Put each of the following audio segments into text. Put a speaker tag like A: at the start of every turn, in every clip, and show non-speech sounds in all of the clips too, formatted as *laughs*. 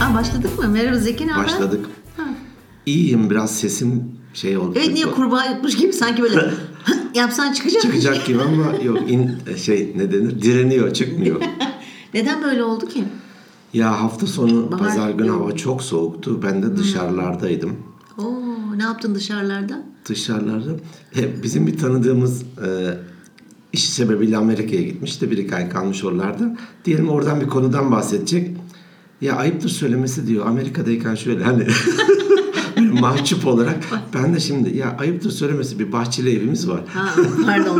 A: Aa, başladık mı? Merhaba Zeki ne haber?
B: Başladık. İyiyim biraz sesim şey oldu.
A: Evet niye kurbağa yapmış gibi
B: *laughs*
A: sanki böyle yapsan çıkacak.
B: Çıkacak gibi ama yok in, şey ne denir direniyor
A: *laughs*
B: çıkmıyor.
A: Neden böyle oldu ki?
B: ya hafta sonu
A: Bahar-
B: pazar günü hava çok soğuktu. Ben de dışarılardaydım.
A: Oo, ne yaptın dışarılarda?
B: Dışarılarda e, bizim bir tanıdığımız e, iş sebebiyle Amerika'ya gitmişti. Bir iki ay kalmış oralarda. Diyelim oradan bir konudan bahsedecek. Ya ayıptır söylemesi diyor. Amerika'dayken şöyle hani *laughs* böyle mahcup olarak ben de şimdi ya ayıptır söylemesi bir bahçeli evimiz var.
A: Ha, pardon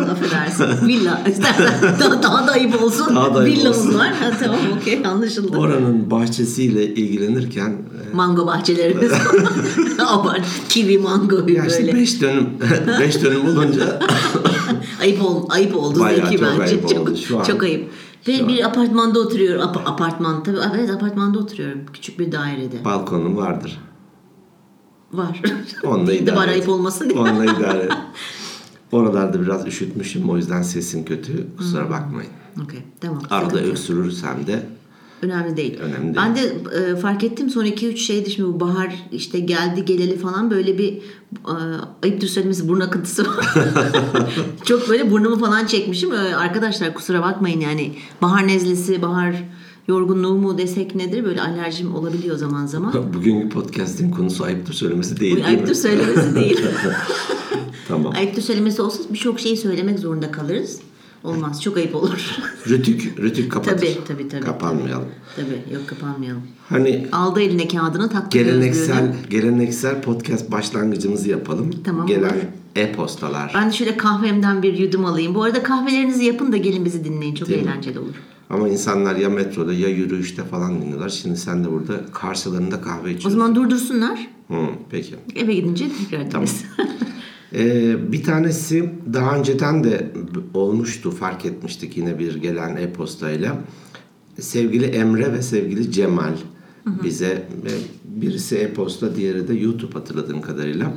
B: *laughs*
A: affedersin. Villa. İstersen daha, daha da ayıp olsun.
B: Daha da ayıp
A: Villamız
B: olsun.
A: var. Ha, tamam okey anlaşıldı.
B: Oranın bahçesiyle ilgilenirken e,
A: Mango bahçelerimiz.
B: *laughs*
A: Abart. Kivi mango bir
B: ya işte
A: böyle.
B: 5 dönüm *laughs* 5 dönüm olunca
A: Ayıp, ol, ayıp oldu
B: Bayağı
A: Zeki
B: çok
A: bence.
B: ayıp
A: çok,
B: oldu şu an.
A: çok ayıp. Ve bir apartmanda oturuyorum. Ap- apartman tabii evet apartmanda oturuyorum. Küçük bir dairede.
B: balkonum vardır.
A: Var.
B: Onunla
A: Bir de
B: idare
A: var
B: et.
A: ayıp olmasın diye.
B: Onunla idare
A: *laughs*
B: et. Oralarda biraz üşütmüşüm o yüzden sesim kötü. Kusura bakmayın.
A: Okey tamam.
B: Arada
A: Hmm. Sıkıntı yok.
B: öksürürsem de *laughs*
A: Önemli değil.
B: Önemli
A: ben de e, fark ettim son 2-3 şeydi şimdi bu bahar işte geldi geleli falan böyle bir e, ayıptır söylemesi burun akıntısı var. *laughs* Çok böyle burnumu falan çekmişim. E, arkadaşlar kusura bakmayın yani bahar nezlesi, bahar yorgunluğu mu desek nedir böyle alerjim olabiliyor zaman zaman.
B: bugünkü podcast'in konusu ayıptır söylemesi değil.
A: Bu
B: değil mi?
A: ayıptır söylemesi değil.
B: *laughs* Tamam.
A: ayıptır söylemesi olsa birçok şeyi söylemek zorunda kalırız. Olmaz. Çok ayıp olur. *laughs*
B: Rütük, rütük kapatır.
A: Tabii, tabii, tabii,
B: Kapanmayalım.
A: Tabii yok kapanmayalım.
B: Hani
A: Aldı eline kağıdını taktı gözlüğünü.
B: geleneksel geleneksel podcast başlangıcımızı yapalım.
A: Tamam,
B: Gelen
A: olur.
B: e-postalar.
A: Ben de şöyle kahvemden bir yudum alayım. Bu arada kahvelerinizi yapın da gelin bizi dinleyin. Çok eğlenceli olur.
B: Ama insanlar ya metroda ya yürüyüşte falan dinliyorlar. Şimdi sen de burada karşılarında kahve
A: O
B: içiyorsun.
A: zaman durdursunlar.
B: Hı, peki.
A: Eve gidince tekrar dinleriz.
B: Ee, bir tanesi daha önceden de b- olmuştu fark etmiştik yine bir gelen e-postayla. Sevgili Emre ve sevgili Cemal bize e, birisi e-posta diğeri de YouTube hatırladığım kadarıyla.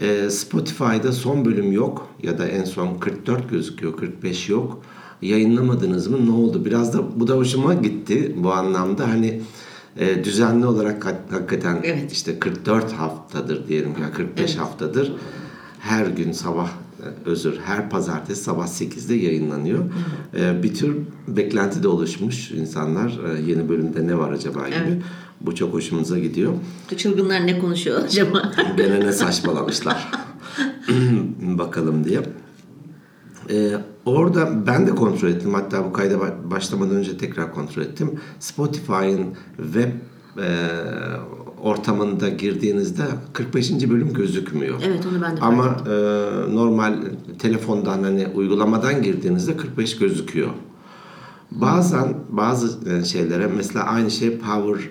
B: Ee, Spotify'da son bölüm yok ya da en son 44 gözüküyor 45 yok. Yayınlamadınız mı ne oldu? Biraz da bu da hoşuma gitti bu anlamda hani e, düzenli olarak hak- hakikaten
A: Evet.
B: işte 44 haftadır diyelim ya 45 haftadır her gün sabah e, özür her pazartesi sabah 8'de yayınlanıyor. E, bir tür beklenti de oluşmuş insanlar e, yeni bölümde ne var acaba gibi. Bu çok hoşumuza gidiyor.
A: *laughs* Bu çılgınlar ne konuşuyor acaba? *laughs*
B: Gene ne saçmalamışlar. *clears throat* Bakalım diye. Ee, orada ben de kontrol ettim. Hatta bu kayda ba- başlamadan önce tekrar kontrol ettim. Spotify'ın web e, ortamında girdiğinizde 45. bölüm gözükmüyor.
A: Evet, onu ben de fark
B: Ama e, normal telefondan hani uygulamadan girdiğinizde 45 gözüküyor. Bazen bazı e, şeylere mesela aynı şey Power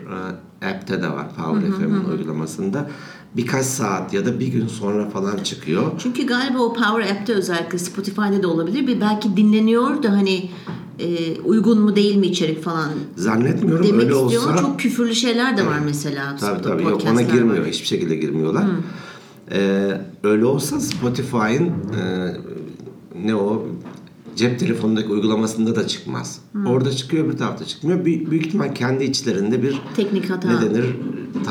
B: e, app'te de var. Power FM'in uygulamasında birkaç saat ya da bir gün sonra falan çıkıyor.
A: Çünkü galiba o Power App'te özellikle Spotify'da da olabilir. Bir belki dinleniyor da hani e, uygun mu değil mi içerik falan
B: Zannetmiyorum
A: demek
B: öyle
A: istiyor.
B: olsa.
A: Çok küfürlü şeyler de var mesela.
B: Tabii
A: Spotify
B: tabii yok ona
A: podcastler
B: girmiyor.
A: var.
B: Hiçbir şekilde girmiyorlar. Ee, öyle olsa Spotify'ın e, ne o cep telefonundaki uygulamasında da çıkmaz. Orada çıkıyor bir tarafta çıkmıyor. Büyük, büyük ihtimal kendi içlerinde bir
A: Teknik hata.
B: ne denir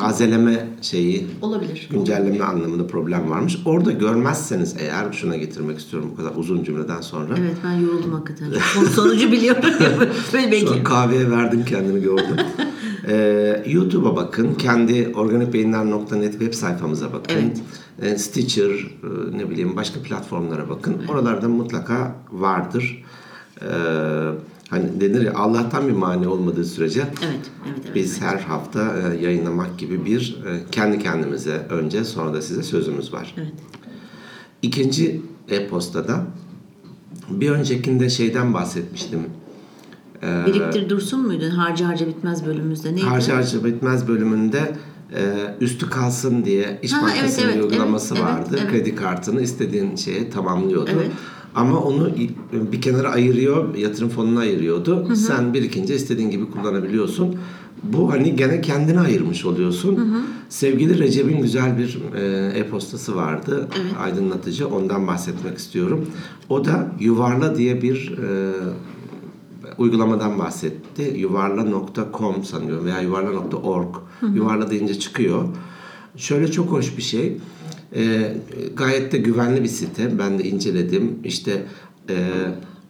B: tazeleme şeyi
A: Olabilir.
B: güncelleme anlamında problem varmış. Orada görmezseniz eğer şuna getirmek istiyorum bu kadar uzun cümleden sonra.
A: Evet ben yoruldum hakikaten. Son-
B: *laughs*
A: Sonucu biliyorum. Böyle belki
B: Sonra kahveye verdim kendimi
A: *laughs*
B: gördüm. Ee, YouTube'a bakın. Kendi organikbeyinler.net web sayfamıza bakın.
A: Evet.
B: Ee, Stitcher, e, ne bileyim başka platformlara bakın. Oralarda mutlaka vardır. Ee, hani denir ya Allah'tan bir mani olmadığı sürece
A: Evet, evet, evet.
B: biz her hafta e, yayınlamak gibi bir e, kendi kendimize önce sonra da size sözümüz var.
A: Evet.
B: İkinci e-postada bir öncekinde şeyden bahsetmiştim.
A: Biriktir dursun muydu? Harca harca bitmez bölümümüzde neydi?
B: e, Harca harca bitmez bölümünde e, üstü kalsın diye İş
A: Ha,
B: Bankası'nın
A: evet, evet,
B: uygulaması
A: evet,
B: vardı.
A: evet, evet.
B: Kredi kartını istediğin şeye tamamlıyordu.
A: Evet.
B: Ama onu i- bir kenara ayırıyor, yatırım fonuna ayırıyordu. Sen birikince istediğin gibi kullanabiliyorsun. Bu hani gene kendine ayırmış oluyorsun. Sevgili Recep'in güzel bir e, e-postası vardı. Aydınlatıcı. Ondan bahsetmek istiyorum. O da yuvarla diye bir e, e, uygulamadan bahsetti. Yuvarla.com sanıyorum veya yuvarla.org. Yuvarla deyince çıkıyor. Şöyle çok hoş bir şey. Ee, gayet de güvenli bir site. Ben de inceledim. İşte e,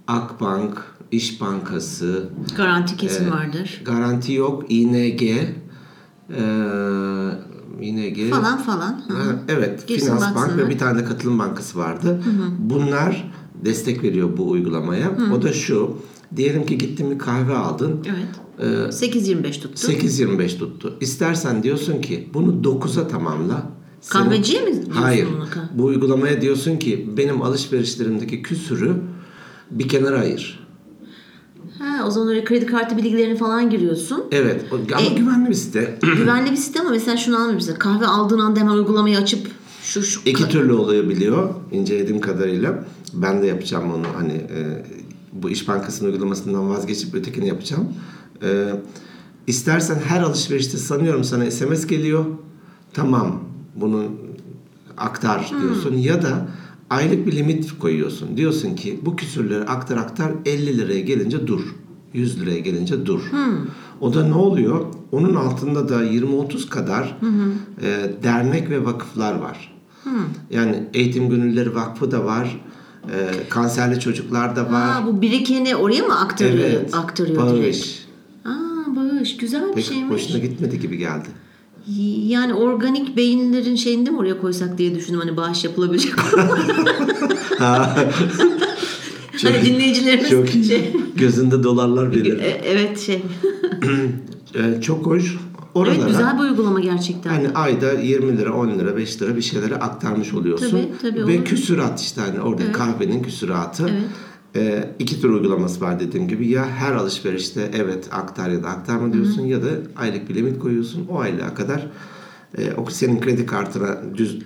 B: Akbank, İş Bankası,
A: Garanti kesin vardır.
B: garanti yok, ING, e, ING
A: Falan falan. Hı.
B: Ha, Evet,
A: Girsin
B: Finans Bank
A: baksınlar.
B: ve bir tane de katılım bankası vardı. Bunlar destek veriyor bu uygulamaya. O da şu, diyelim ki gittin bir kahve aldın,
A: Evet.
B: e,
A: 8.25 tuttu.
B: 8.25 tuttu. İstersen diyorsun ki bunu 9'a tamamla. Senin-
A: Kahveciye mi diyorsun
B: Hayır.
A: bunu? Ka-
B: Bu uygulamaya diyorsun ki benim alışverişlerimdeki küsürü bir kenara ayır.
A: Ha, o zaman oraya kredi kartı bilgilerini
B: *clears throat*
A: falan giriyorsun.
B: Evet o- ama
A: E-
B: güvenli bir site.
A: Güvenli bir sistem ama mesela şunu anlamıyorsun. Kahve aldığın anda hemen uygulamayı açıp şu şu
B: İki türlü olabiliyor incelediğim kadarıyla. Ben de yapacağım onu hani e, bu İş Bankası'nın uygulamasından vazgeçip ötekini yapacağım. E, istersen her alışverişte sanıyorum sana SMS geliyor. Tamam bunu aktar diyorsun ya da aylık bir limit koyuyorsun. Diyorsun ki bu küsürleri aktar aktar 50 liraya gelince dur. 100 liraya gelince dur. O da ne oluyor? Onun altında da 20-30 kadar e, dernek ve vakıflar var. Yani Eğitim Gönülleri Vakfı da var. E, kanserli çocuklar da var.
A: Ha, bu birikeni oraya mı aktarıyor?
B: evet.
A: Aktarıyor
B: bağış.
A: direkt. Aa bağış. Güzel bir
B: Pek
A: şeymiş.
B: hoşuna gitmedi gibi geldi.
A: Yani organik beyinlerin şeyinde mi oraya koysak diye düşündüm. Hani bağış yapılabilecek.
B: *laughs*
A: hani *laughs* dinleyicilerimiz
B: Çok iyi.
A: şey.
B: *laughs* Gözünde dolarlar
A: E, *laughs*
B: belir.
A: Evet şey.
B: E, çok hoş. Oralara,
A: Evet güzel bir uygulama gerçekten.
B: Yani ayda 20 lira, 10 lira, 5 lira bir şeylere aktarmış oluyorsun.
A: Tabii, tabii,
B: Ve
A: olur.
B: küsürat işte hani orada kahvenin küsüratı.
A: Evet.
B: Ee, iki tür uygulaması var dediğim gibi. Ya her alışverişte evet aktar ya da aktarma diyorsun ya da aylık bir limit koyuyorsun. O aylığa kadar e, o senin kredi kartına düz e,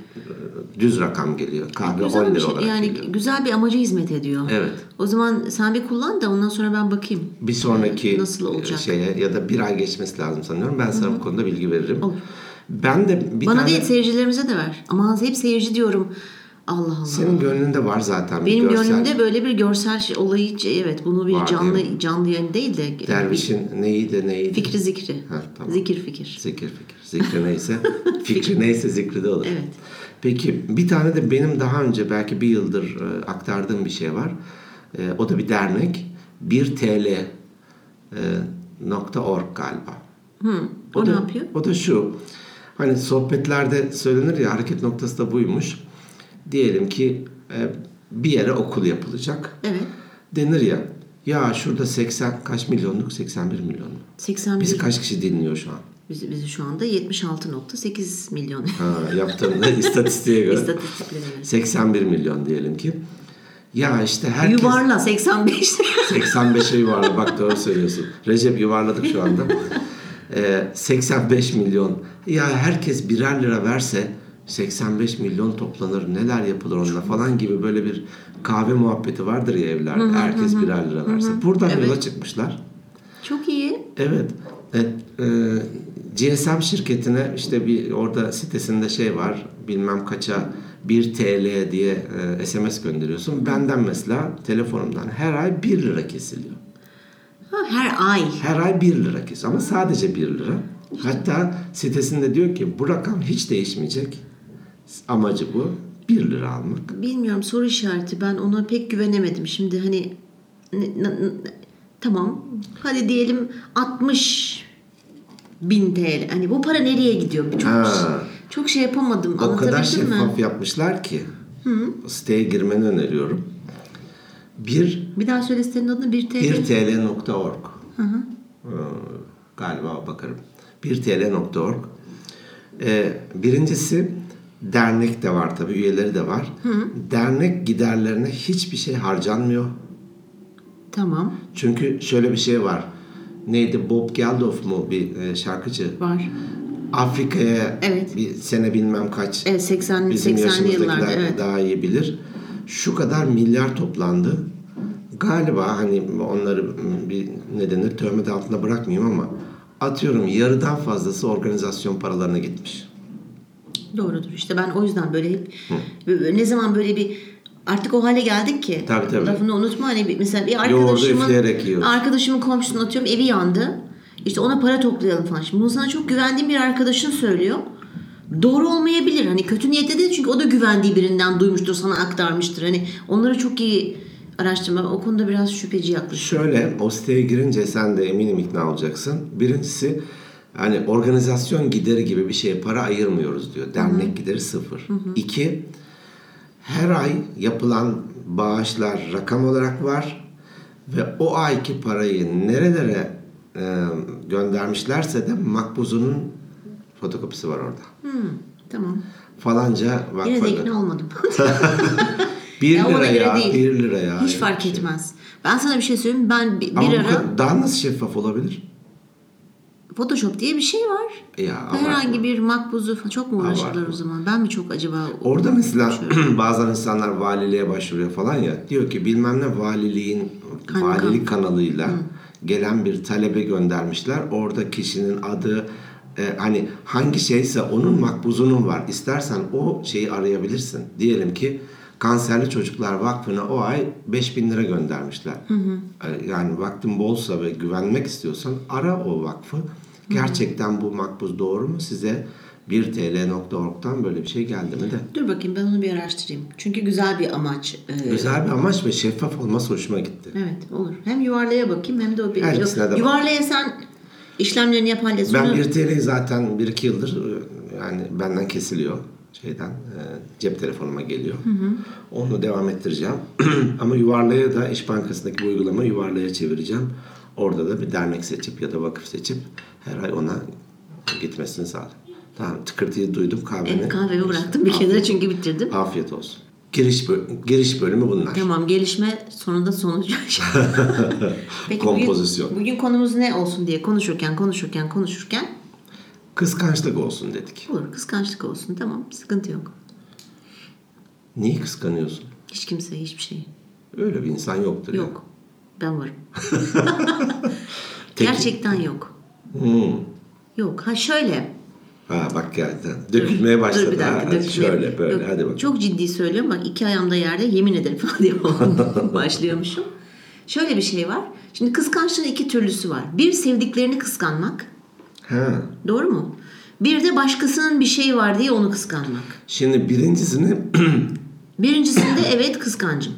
B: düz rakam geliyor. Kahve 10
A: güzel bir
B: lira
A: şey.
B: olarak
A: Yani
B: geliyor.
A: güzel bir amaca hizmet ediyor.
B: Evet.
A: O zaman sen bir kullan da ondan sonra ben bakayım.
B: bir sonraki e,
A: Nasıl olacak?
B: şeye ya da bir ay geçmesi lazım sanıyorum. Ben sana bu konuda bilgi veririm.
A: Olur.
B: Ben de bir
A: Bana
B: tane
A: değil seyircilerimize de ver. Aman hep seyirci diyorum. Allah Allah.
B: senin gönlünde var zaten
A: Benim
B: bir görsel.
A: gönlümde böyle bir görsel şey- olayı evet bunu bir
B: Var,
A: canlı
B: değil
A: canlı yayın değil de e,
B: Dervişin neyi de neyi
A: fikri zikri.
B: Ha, tamam.
A: Zikir fikir.
B: Zikir fikir. Zikri neyse. *laughs* fikri neyse zikri de olur.
A: Evet.
B: Peki bir tane de benim daha önce belki bir yıldır e, aktardığım bir şey var. E, o da bir dernek. 1 TL e, nokta org galiba.
A: Hı. O,
B: da,
A: ne yapıyor?
B: O da şu. Hani sohbetlerde söylenir ya hareket noktası da buymuş. Diyelim ki e, bir yere okul yapılacak.
A: Evet.
B: Denir ya. Ya şurada 80 kaç milyonluk? 81 milyon. mu?
A: 81
B: Bizi kaç kişi dinliyor şu an?
A: bizi, bizi şu anda 76.8 milyon
B: Ha, yaptığında *laughs* istatistiğe göre.
A: istatistiklerine göre.
B: 81 milyon diyelim ki. Ya işte herkes *laughs*
A: Yuvarla 85.
B: 85'e yuvarla bak doğru söylüyorsun. Recep yuvarladık şu anda. Ee, 85 milyon. Ya herkes birer lira verse 85 milyon toplanır neler yapılır onunla falan gibi böyle bir kahve muhabbeti vardır ya evlerde. Herkes birer lira verse. Buradan yola çıkmışlar.
A: *laughs* Çok iyi.
B: Evet. E, e, GSM şirketine işte bir orada sitesinde şey var bilmem kaça 1 TL diye e, SMS gönderiyorsun. Benden mesela telefonumdan her ay 1 lira kesiliyor.
A: Ha, her ay.
B: Her ay 1 lira kesiliyor ama sadece 1 lira. Hatta sitesinde diyor ki bu rakam hiç değişmeyecek. Amacı bu. 1 lira almak.
A: Bilmiyorum soru işareti. Ben ona pek güvenemedim. Şimdi hani n- n- n- tamam hadi diyelim 60 bin TL. Hani bu para nereye gidiyor? Çok,
B: Ha.
A: çok şey yapamadım.
B: O kadar şey
A: Anlatabildim mi?
B: şeffaf yapmışlar ki. Siteye girmeni öneriyorum. 1
A: Bir daha söyle sitenin adını 1 TL.
B: 1tl.org Ee, galiba bakarım. 1tl.org ee, birincisi dernek de var tabii üyeleri de var. Dernek giderlerine hiçbir şey harcanmıyor.
A: Tamam
B: Çünkü şöyle bir şey var. Neydi Bob Geldof mu bir e, şarkıcı?
A: var.
B: Afrika'ya
A: Evet.
B: bir sene bilmem kaç
A: Evet 80
B: bizim
A: 80'li
B: yaşımızdakiler
A: yıllarda evet.
B: daha iyi bilir. Şu kadar milyar toplandı. Galiba hani onları bir ne denir tövmet altında bırakmayayım ama atıyorum yarıdan fazlası organizasyon paralarına gitmiş.
A: Doğrudur işte ben o yüzden böyle hep ne zaman böyle bir artık o hale geldik ki.
B: Tabii, tabii.
A: Lafını unutma hani bir- mesela bir
B: Yoğurdu üfleyerek
A: arkadaşımın
B: yiyoruz.
A: arkadaşımın komşusunu atıyorum evi yandı. İşte ona para toplayalım falan. Şimdi bunu sana çok güvendiğim bir arkadaşın söylüyor. Doğru olmayabilir. Hani kötü niyette değil çünkü o da güvendiği birinden duymuştur, sana aktarmıştır. Hani onları çok iyi araştırma. O konuda biraz şüpheci yaklaşıyor.
B: Şöyle o siteye girince sen de eminim ikna olacaksın. Birincisi hani organizasyon gideri gibi bir şeye para ayırmıyoruz diyor. Dernek gideri sıfır. İki her ay yapılan bağışlar rakam olarak var ve o ayki parayı nerelere e, göndermişlerse de makbuzunun fotokopisi var orada.
A: Hmm, tamam.
B: Falanca
A: Yine de
B: vakfa
A: ikna
B: *laughs*
A: olmadım.
B: 1
A: Ya ona göre
B: liraya,
A: değil.
B: 1 liraya.
A: Hiç fark etmez. Ben sana bir şey söyleyeyim. Ben bi- bir,
B: şey Ama bu
A: ara
B: kadar- daha nasıl şeffaf olabilir?
A: Photoshop diye bir şey var.
B: Ya, abartma.
A: Herhangi bir makbuzu falan- çok mu uğraşırlar
B: Abartma.
A: o zaman? Ben mi çok acaba?
B: Orada mesela *clears throat*
A: uğraşıyorum?
B: bazen insanlar valiliğe başvuruyor falan ya. Diyor ki bilmem ne valiliğin
A: Kaymakam.
B: valilik kanalıyla gelen bir talebe göndermişler. Orada kişinin adı e, hani hangi şeyse onun makbuzunun var. İstersen o şeyi arayabilirsin. Diyelim ki Kanserli Çocuklar Vakfı'na o ay 5000 lira göndermişler. E, Yani vaktin bolsa ve güvenmek istiyorsan ara o vakfı. Gerçekten bu makbuz doğru mu size 1tl.org'dan böyle bir şey geldi mi de.
A: Dur bakayım ben onu bir araştırayım. Çünkü güzel bir amaç. Ee,
B: Güzel bir amaç ve şeffaf olması hoşuma gitti.
A: Evet olur. Hem yuvarlaya bakayım hem de o bir...
B: Her ikisine de bak.
A: yuvarlaya sen işlemlerini yap hallet.
B: Ben
A: Sonra-
B: 1 TL'yi zaten 1-2 yıldır e, yani benden kesiliyor şeyden e, cep telefonuma geliyor. Onu devam ettireceğim. *clears throat* Ama yuvarlaya da İş Bankası'ndaki bu uygulama yuvarlaya çevireceğim. Orada da bir dernek seçip ya da vakıf seçip her ay ona gitmesini sağlayayım. Tamam tıkırtıyı duydum kahveni.
A: Evet, *laughs* kahvemi bıraktım bir kenara
B: Afiyet-
A: çünkü bitirdim.
B: Afiyet olsun. Giriş, bö- giriş bölümü bunlar.
A: Tamam gelişme sonunda *laughs* sonucu.
B: *laughs*
A: Peki
B: Kompozisyon.
A: Bugün, bugün konumuz ne olsun diye konuşurken konuşurken konuşurken
B: Kıskançlık olsun dedik.
A: olur kıskançlık olsun tamam sıkıntı yok.
B: Niye kıskanıyorsun?
A: Hiç kimse hiçbir şey
B: Öyle bir insan yoktur. ya.
A: yok. Ben varım.
B: Peki.
A: Gerçekten yok.
B: Hmm.
A: Yok. Ha şöyle.
B: Ha bak geldi. Dökülmeye başladı.
A: Dur bir dakika.
B: ha.
A: dökülmeye-
B: Şöyle böyle
A: Yok,
B: hadi bakalım.
A: Çok ciddi söylüyorum. Bak iki ayağımda yerde yemin ederim falan diye
B: *laughs*
A: başlıyormuşum. Şöyle bir şey var. Şimdi kıskançlığın iki türlüsü var. Bir sevdiklerini kıskanmak.
B: Ha.
A: Doğru mu? Bir de başkasının bir şeyi var diye onu kıskanmak.
B: Şimdi birincisini *clears throat* *coughs*
A: Birincisinde evet kıskancım.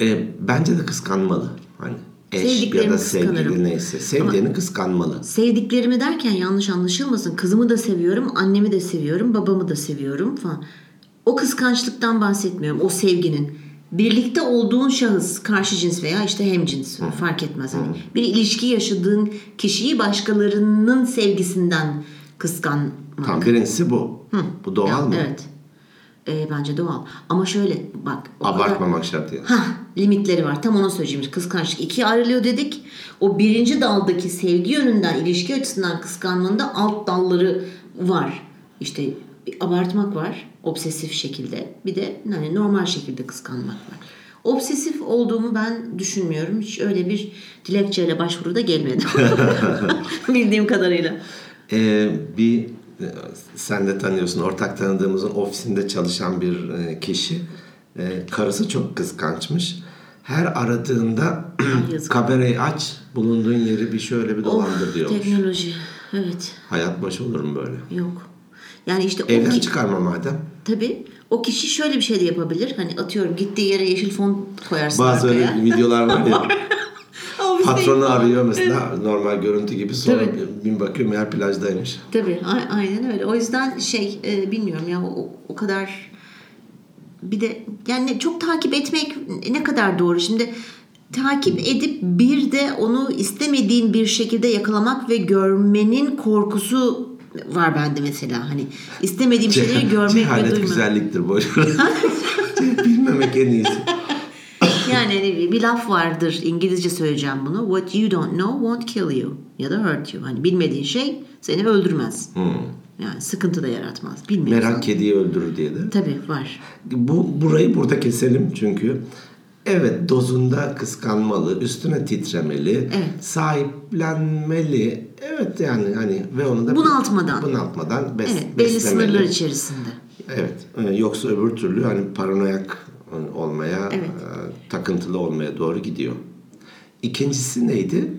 B: e, bence de kıskanmalı. Hani eş ya
A: Sevdiklerimi
B: da sevgili
A: kıskanırım.
B: neyse. Sevdiğini kıskanmalı.
A: Sevdiklerimi derken yanlış anlaşılmasın. Kızımı da seviyorum, annemi de seviyorum, babamı da seviyorum falan. O kıskançlıktan bahsetmiyorum. O sevginin. Birlikte olduğun şahıs, karşı cins veya işte hemcins fark etmez. Hani bir ilişki yaşadığın kişiyi başkalarının sevgisinden kıskanmak.
B: Tamam birincisi bu. Bu doğal
A: Ya,
B: mı?
A: Evet. Ee, bence doğal. Ama şöyle bak. o kadar-
B: Abartmamak şartıyla.
A: Hah limitleri var. Tam onu söyleyeceğim. Kıskançlık ikiye ayrılıyor dedik. O birinci daldaki sevgi yönünden ilişki açısından kıskanmanın da alt dalları var. İşte bir abartmak var obsesif şekilde. Bir de hani normal şekilde kıskanmak var. Obsesif olduğumu ben düşünmüyorum. Hiç öyle bir dilekçeyle başvuruda gelmedi. *laughs* Bildiğim kadarıyla.
B: E, bir e, sen de tanıyorsun ortak tanıdığımızın ofisinde çalışan bir e, kişi e, karısı çok kıskançmış. Her aradığında *clears throat*
A: yazık.
B: kamerayı aç bulunduğun yeri bir şöyle bir dolandır
A: Of,
B: diyormuş.
A: teknoloji. Evet.
B: Hayat başı olur mu böyle?
A: Yok. Yani işte o
B: Evden
A: ki-
B: çıkarma madem.
A: Tabii. O kişi şöyle bir şey de yapabilir. Hani atıyorum gittiği yere yeşil fon koyarsın
B: Bazı
A: arkaya.
B: öyle videolar var
A: *laughs*
B: ya.
A: Ama biz de-
B: patronu arıyor mesela normal görüntü gibi sonra
A: Tabii.
B: bin bakıyor meğer plajdaymış.
A: Tabii. a- aynen öyle. O yüzden şey e, bilmiyorum ya o, o kadar bir de yani çok takip etmek ne kadar doğru şimdi takip edip bir de onu istemediğin bir şekilde yakalamak ve görmenin korkusu var bende mesela hani
B: *laughs*
A: istemediğim şeyleri görmek ve
B: Cehalet
A: duymak.
B: güzelliktir boş.
A: *laughs*
B: ver. *laughs* Bilmemek en iyisi.
A: Yani hani bir- bir laf vardır İngilizce söyleyeceğim bunu. What you don't know won't kill you ya da hurt you. Hani bilmediğin şey seni öldürmez. Yani sıkıntı da yaratmaz. Bilmiyorsan.
B: Hmm. Merak kediyi öldürür diye de.
A: Tabii var.
B: Bu burayı burada keselim çünkü. Evet dozunda kıskanmalı, üstüne titremeli,
A: Evet.
B: sahiplenmeli. Evet yani hani ve onu da
A: Bunaltmadan.
B: bunaltmadan bes,
A: Evet, belli
B: beslemeli.
A: sınırlar içerisinde.
B: Evet. e, Yoksa öbür türlü hani paranoyak e, takıntılı olmaya doğru gidiyor. İkincisi neydi?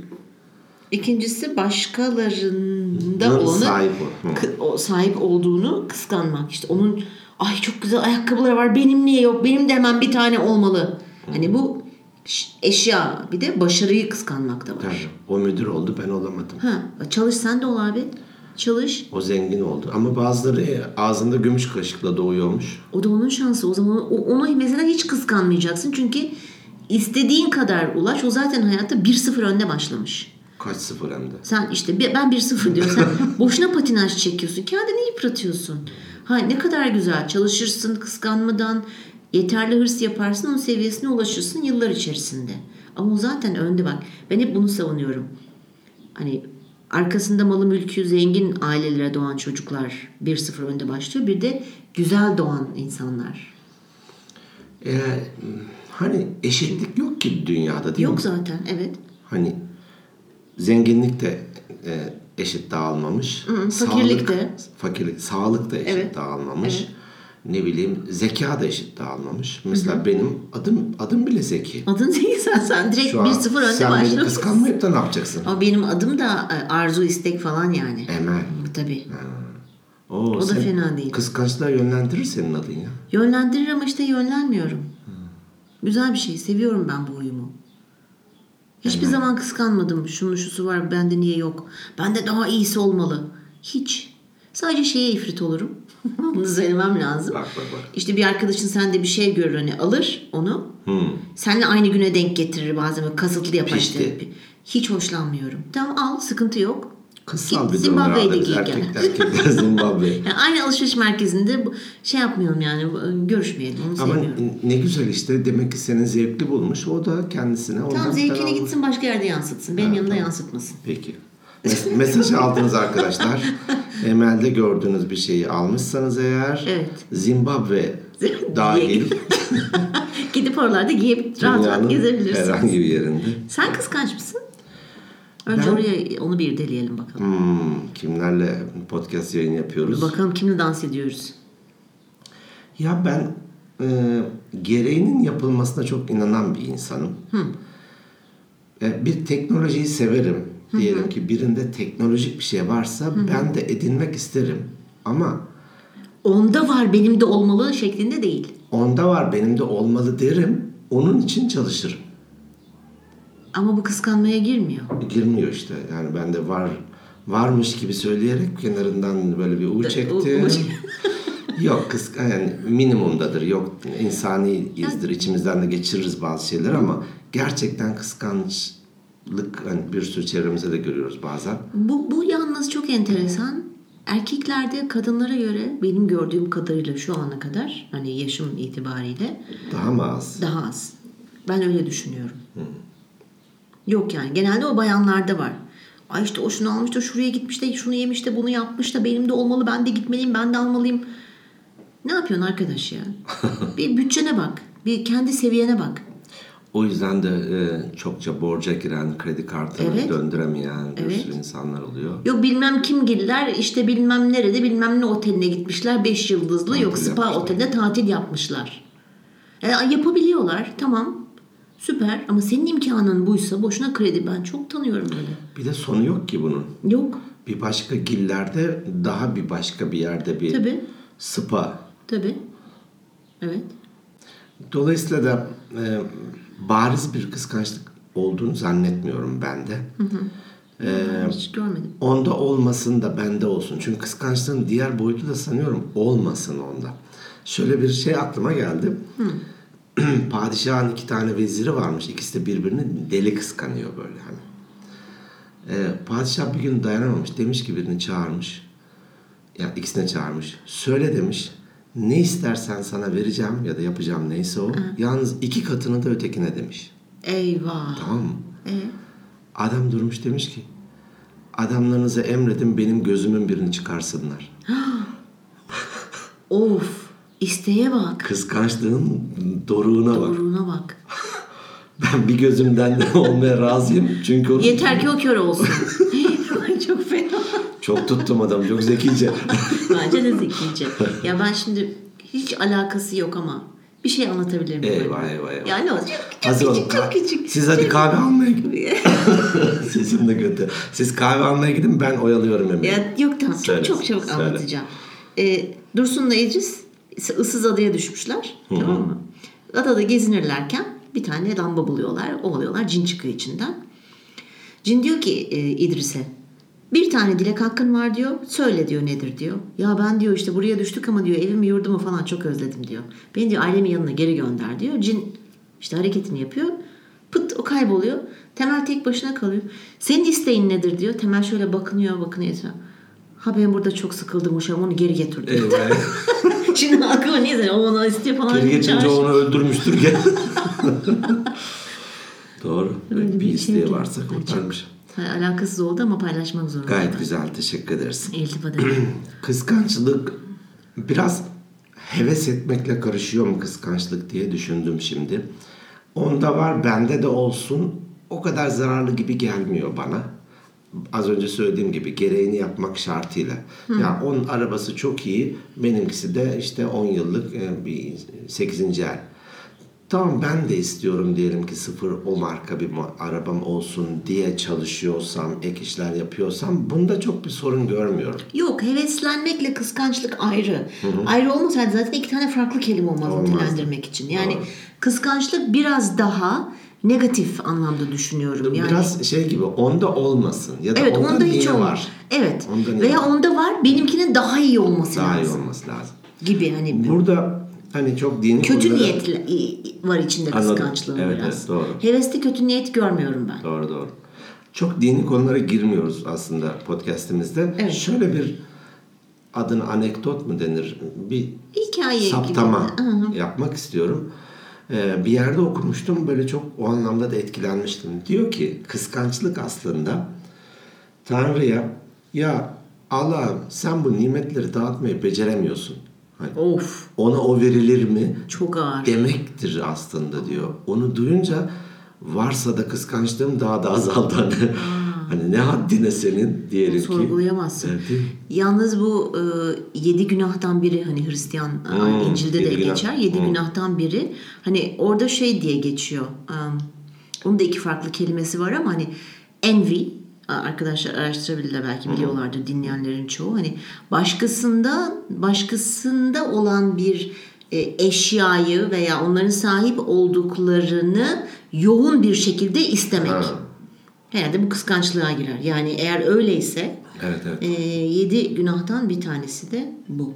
A: İkincisi başkalarında
B: Nın
A: onu
B: sahip ol- Hı.
A: kı- o sahip olduğunu kıskanmak. İşte onun ay çok güzel ayakkabıları var benim niye yok benim de hemen bir tane olmalı.
B: Hmm.
A: Hani bu ş- eşya bir de başarıyı kıskanmak da var.
B: Tabii. O müdür oldu ben olamadım.
A: Ha, çalış sen de ol abi. Çalış.
B: O zengin oldu. Ama bazıları e, ağzında gümüş kaşıkla doğuyormuş.
A: O da onun şansı. O zaman o- onu mesela hiç kıskanmayacaksın. Çünkü istediğin kadar ulaş. O zaten hayatta 1-0 önde başlamış.
B: Kaç sıfır hem de.
A: Sen işte bir- ben 1-0 diyorum. Sen
B: *laughs*
A: boşuna patinaj çekiyorsun. Kendini yıpratıyorsun. Ha ne kadar güzel. Çalışırsın kıskanmadan. Yeterli hırs yaparsın. Onun seviyesine ulaşırsın yıllar içerisinde. Ama o zaten önde bak. Ben hep bunu savunuyorum. Hani arkasında malı mülkü zengin ailelere doğan çocuklar 1-0 önde başlıyor. Bir de güzel doğan insanlar.
B: Ee, hani eşitlik yok ki dünyada değil mi?
A: Yok zaten evet.
B: Hani zenginlik de e, eşit dağılmamış.
A: hı, fakirlik
B: Sağlık,
A: de.
B: Fakirlik, sağlık da eşit
A: Evet,
B: dağılmamış.
A: evet.
B: Ne bileyim zeka da eşit dağılmamış. Mesela benim adım adım bile zeki.
A: Adın zengin sen, sen direkt
B: Şu an
A: 1-0 önde
B: sen beni
A: başlamışsın.
B: kıskanmayıp da ne yapacaksın?
A: Ama benim adım da e, arzu istek falan yani.
B: Emel.
A: Tabii.
B: Oo,
A: da
B: sen
A: fena değil.
B: Kıskançlığa yönlendirir senin adın ya.
A: Yönlendirir ama işte yönlenmiyorum.
B: Hmm.
A: Güzel bir şey. Seviyorum ben bu huyumu. Hiçbir zaman kıskanmadım. Şunun şusu var bende niye yok. Bende daha iyisi olmalı. Hiç. Sadece şeye ifrit olurum. *laughs* Bunu söylemem lazım.
B: Bak bak bak.
A: İşte bir arkadaşın sende bir şey görür hani alır onu.
B: Hmm.
A: Seninle aynı güne denk getirir bazen böyle kasıtlı yapar
B: Pişti.
A: işte. Hiç hoşlanmıyorum. Tamam al sıkıntı yok.
B: Kızsal
A: Git
B: bir durum
A: Zimbabwe'ye
B: herhalde
A: de
B: biz
A: giy
B: erkek,
A: gene.
B: erkekler *laughs* Zimbabwe.
A: Yani aynı alışveriş merkezinde bu- şey yapmayalım yani bu- görüşmeyelim. Onu
B: Ama
A: sevmiyorum.
B: ne güzel işte demek ki senin zevkli bulmuş. O da kendisine ondan
A: Tam
B: bir tane
A: zevkine
B: almış.
A: gitsin başka yerde yansıtsın. Benim yanımda yansıtmasın.
B: Peki. Mes- *laughs* mesajı aldınız arkadaşlar.
A: *laughs*
B: Emelde gördüğünüz bir şeyi almışsanız eğer
A: Evet. *laughs*
B: Zimbabwe dahil
A: Gidip oralarda giyip *laughs* rahat rahat
B: dünyanın
A: gezebilirsin.
B: herhangi bir yerinde.
A: Sen kıskanç mısın? Önce
B: Ben-
A: oraya onu bir irdeleyelim bakalım.
B: Hmm, kimlerle podcast yayın yapıyoruz?
A: Bakalım kimle dans ediyoruz.
B: Ya ben e, gereğinin yapılmasına çok inanan bir insanım. E, bir teknolojiyi severim. Diyelim ki birinde teknolojik bir şey varsa ben de edinmek isterim. Ama
A: Onda var benim de olmalı şeklinde değil.
B: onda var benim de olmalı derim. Onun için çalışırım.
A: Ama bu kıskanmaya girmiyor.
B: Girmiyor işte. Yani ben de var varmış gibi söyleyerek kenarından böyle bir U çektim.
A: U-
B: Yok kısk yani minimumdadır. Yok insani izdir. İçimizden de geçiririz bazı şeyler ama gerçekten kıskançlık hani bir sürü çevremizde de görüyoruz bazen.
A: Bu, bu yalnız çok enteresan. Erkeklerde kadınlara göre benim gördüğüm kadarıyla şu ana kadar hani yaşım itibariyle
B: Daha mı az?
A: daha az. Ben öyle düşünüyorum. Yok yani genelde o bayanlarda var. Ay işte o şunu almış da şuraya gitmiş de şunu yemiş de bunu yapmış da benim de olmalı ben de gitmeliyim ben de almalıyım. Ne yapıyorsun arkadaş ya? bir bütçene bak. Bir kendi seviyene bak.
B: O yüzden de e, çokça borca giren, kredi kartını
A: Evet.
B: döndüremeyen bir
A: Evet.
B: sürü insanlar oluyor.
A: Yok bilmem kim giller işte bilmem nerede bilmem ne oteline gitmişler 5 yıldızlı yok spa
B: yapmışlar.
A: otelinde tatil yapmışlar. E, yapabiliyorlar tamam süper ama senin imkanın buysa boşuna kredi ben çok tanıyorum öyle.
B: Bir de sonu yok ki bunun.
A: Yok
B: Bir başka gillerde daha bir başka bir yerde bir
A: tabi
B: spa.
A: tabi evet
B: Dolayısıyla da e, bariz bir kıskançlık olduğunu zannetmiyorum bende. e,
A: Ben hiç görmedim.
B: Onda olmasın da bende olsun. Çünkü kıskançlığın diğer boyutu da sanıyorum olmasın onda. Şöyle bir şey aklıma geldi. *clears throat* Padişahın iki tane veziri varmış. İkisi de birbirini deli kıskanıyor böyle hani. Ee, padişah bir gün dayanamamış. Demiş ki birini çağırmış. Ya ikisine çağırmış. Söyle demiş. Ne istersen sana vereceğim ya da yapacağım neyse o. Yalnız iki katını da ötekine demiş.
A: Eyvah.
B: Tamam mı?
A: E,
B: Adam durmuş demiş ki adamlarınıza emredin benim gözümün birini çıkarsınlar.
A: of isteye bak.
B: Kıskançlığın doruğuna bak.
A: Doğruna bak.
B: Ben bir gözümden de *laughs* olmaya razıyım. Çünkü onu
A: Yeter ki o
B: *laughs*
A: kör olsun. çok fena.
B: çok tuttum adam çok zekice.
A: Bence de zekice. Ya ben şimdi hiç alakası yok ama bir şey anlatabilir miyim?
B: Eyvah, eyvah, eyvah.
A: Yani o çok
B: *laughs*
A: küçük,
B: Hazır olun.
A: küçük, çok
B: Ka-
A: küçük.
B: Siz hadi
A: Çok-
B: kahve almaya gidin. *laughs* Sesim de kötü. Siz kahve almaya gidin ben oyalıyorum Emre'yi.
A: Ya, yok tamam
B: Söyle,
A: çok çok çabuk
B: söyle.
A: anlatacağım. Ee, Dursun'la İdris ıssız adaya düşmüşler. Tamam mı? Adada gezinirlerken bir tane lamba buluyorlar. Ovalıyorlar. Cin çıkıyor içinden. Cin diyor ki e, İdris'e bir tane dilek hakkın var diyor. Söyle diyor nedir diyor. Ya ben diyor işte buraya düştük ama diyor evimi yurdumu falan çok özledim diyor. Beni diyor ailemin yanına geri gönder diyor. Cin işte hareketini yapıyor. Pıt o kayboluyor. Temel tek başına kalıyor. Senin isteğin nedir diyor. Temel şöyle bakınıyor bakınıyor. Ha ben burada çok sıkıldım uşağım onu geri getir
B: *laughs*
A: diyor.
B: Eyvah.
A: *laughs* Şimdi aklıma niye sen o ona istiyor falan.
B: Geri geçince
A: Çağır-
B: onu öldürmüştür gel. *laughs* Doğru.
A: Öyle
B: bir
A: şey
B: isteği
A: yok.
B: varsa
A: Ay, çok-
B: kurtarmış.
A: Ha, Alakasız oldu ama paylaşmak zorunda.
B: Gayet güzel teşekkür ederiz.
A: İltifat ederim.
B: Kıskançlık biraz heves etmekle karışıyor mu kıskançlık diye düşündüm şimdi. Onda var bende de olsun o kadar zararlı gibi gelmiyor bana. Az önce söylediğim gibi gereğini yapmak şartıyla. Ya onun arabası çok iyi benimkisi de işte 10 yıllık e, bir 8. el. Tamam ben de istiyorum diyelim ki sıfır o marka bir ma- arabam olsun diye çalışıyorsam, ek işler yapıyorsam bunda çok bir sorun görmüyorum.
A: Yok heveslenmekle kıskançlık ayrı. Ayrı olmasaydı zaten iki tane farklı kelime olmaz
B: Olmaz.
A: nitelendirmek için. Yani
B: Doğru.
A: kıskançlık biraz daha negatif anlamda düşünüyorum. Yani
B: Biraz şey gibi onda olmasın ya da
A: evet
B: onda,
A: onda hiç
B: niye
A: olmaz.
B: var?
A: Evet.
B: Onda niye
A: Veya
B: var?
A: onda var benimkinin daha iyi olması
B: Daha iyi
A: lazım.
B: olması lazım.
A: Gibi hani
B: Burada hani çok dini
A: kötü
B: konulara-
A: niyetli var içinde
B: Anladım.
A: kıskançlığın
B: Evet,
A: biraz.
B: evet, doğru.
A: Heveste kötü niyet görmüyorum ben.
B: Doğru doğru. Çok dini konulara girmiyoruz aslında podcastimizde.
A: Evet.
B: Şöyle bir adını anekdot mu denir? Bir
A: Hikaye gibi.
B: saptama
A: Hı hı.
B: yapmak istiyorum. Ee, bir yerde okumuştum böyle çok o anlamda da etkilenmiştim. Diyor ki kıskançlık aslında Tanrı'ya ya Allah'ım sen bu nimetleri dağıtmayı beceremiyorsun. Hani
A: Of
B: ona o verilir mi?
A: çok ağır.
B: demektir aslında diyor. Onu duyunca varsa da kıskançlığım daha da azaldı. *laughs* Hani, hani ne haddine senin diyelim ki.
A: sorgulayamazsın.
B: Evet, değil mi?
A: Yalnız bu e, yedi günahtan biri hani Hristiyan e,
B: Hmm,
A: İncil'de de
B: yedi günah. Hmm.
A: geçer. Yedi günahtan biri. Hani orada şey diye geçiyor. Um, onun da iki farklı kelimesi var ama hani envy a- arkadaşlar araştırabilirler
B: Hmm.
A: belki biliyorlardır dinleyenlerin çoğu. Hani başkasında başkasında olan bir e, eşyayı veya onların sahip olduklarını yoğun bir şekilde istemek.
B: Ha,
A: Herhalde bu kıskançlığa girer. Yani eğer öyleyse
B: evet evet.
A: e, yedi günahtan bir tanesi de bu.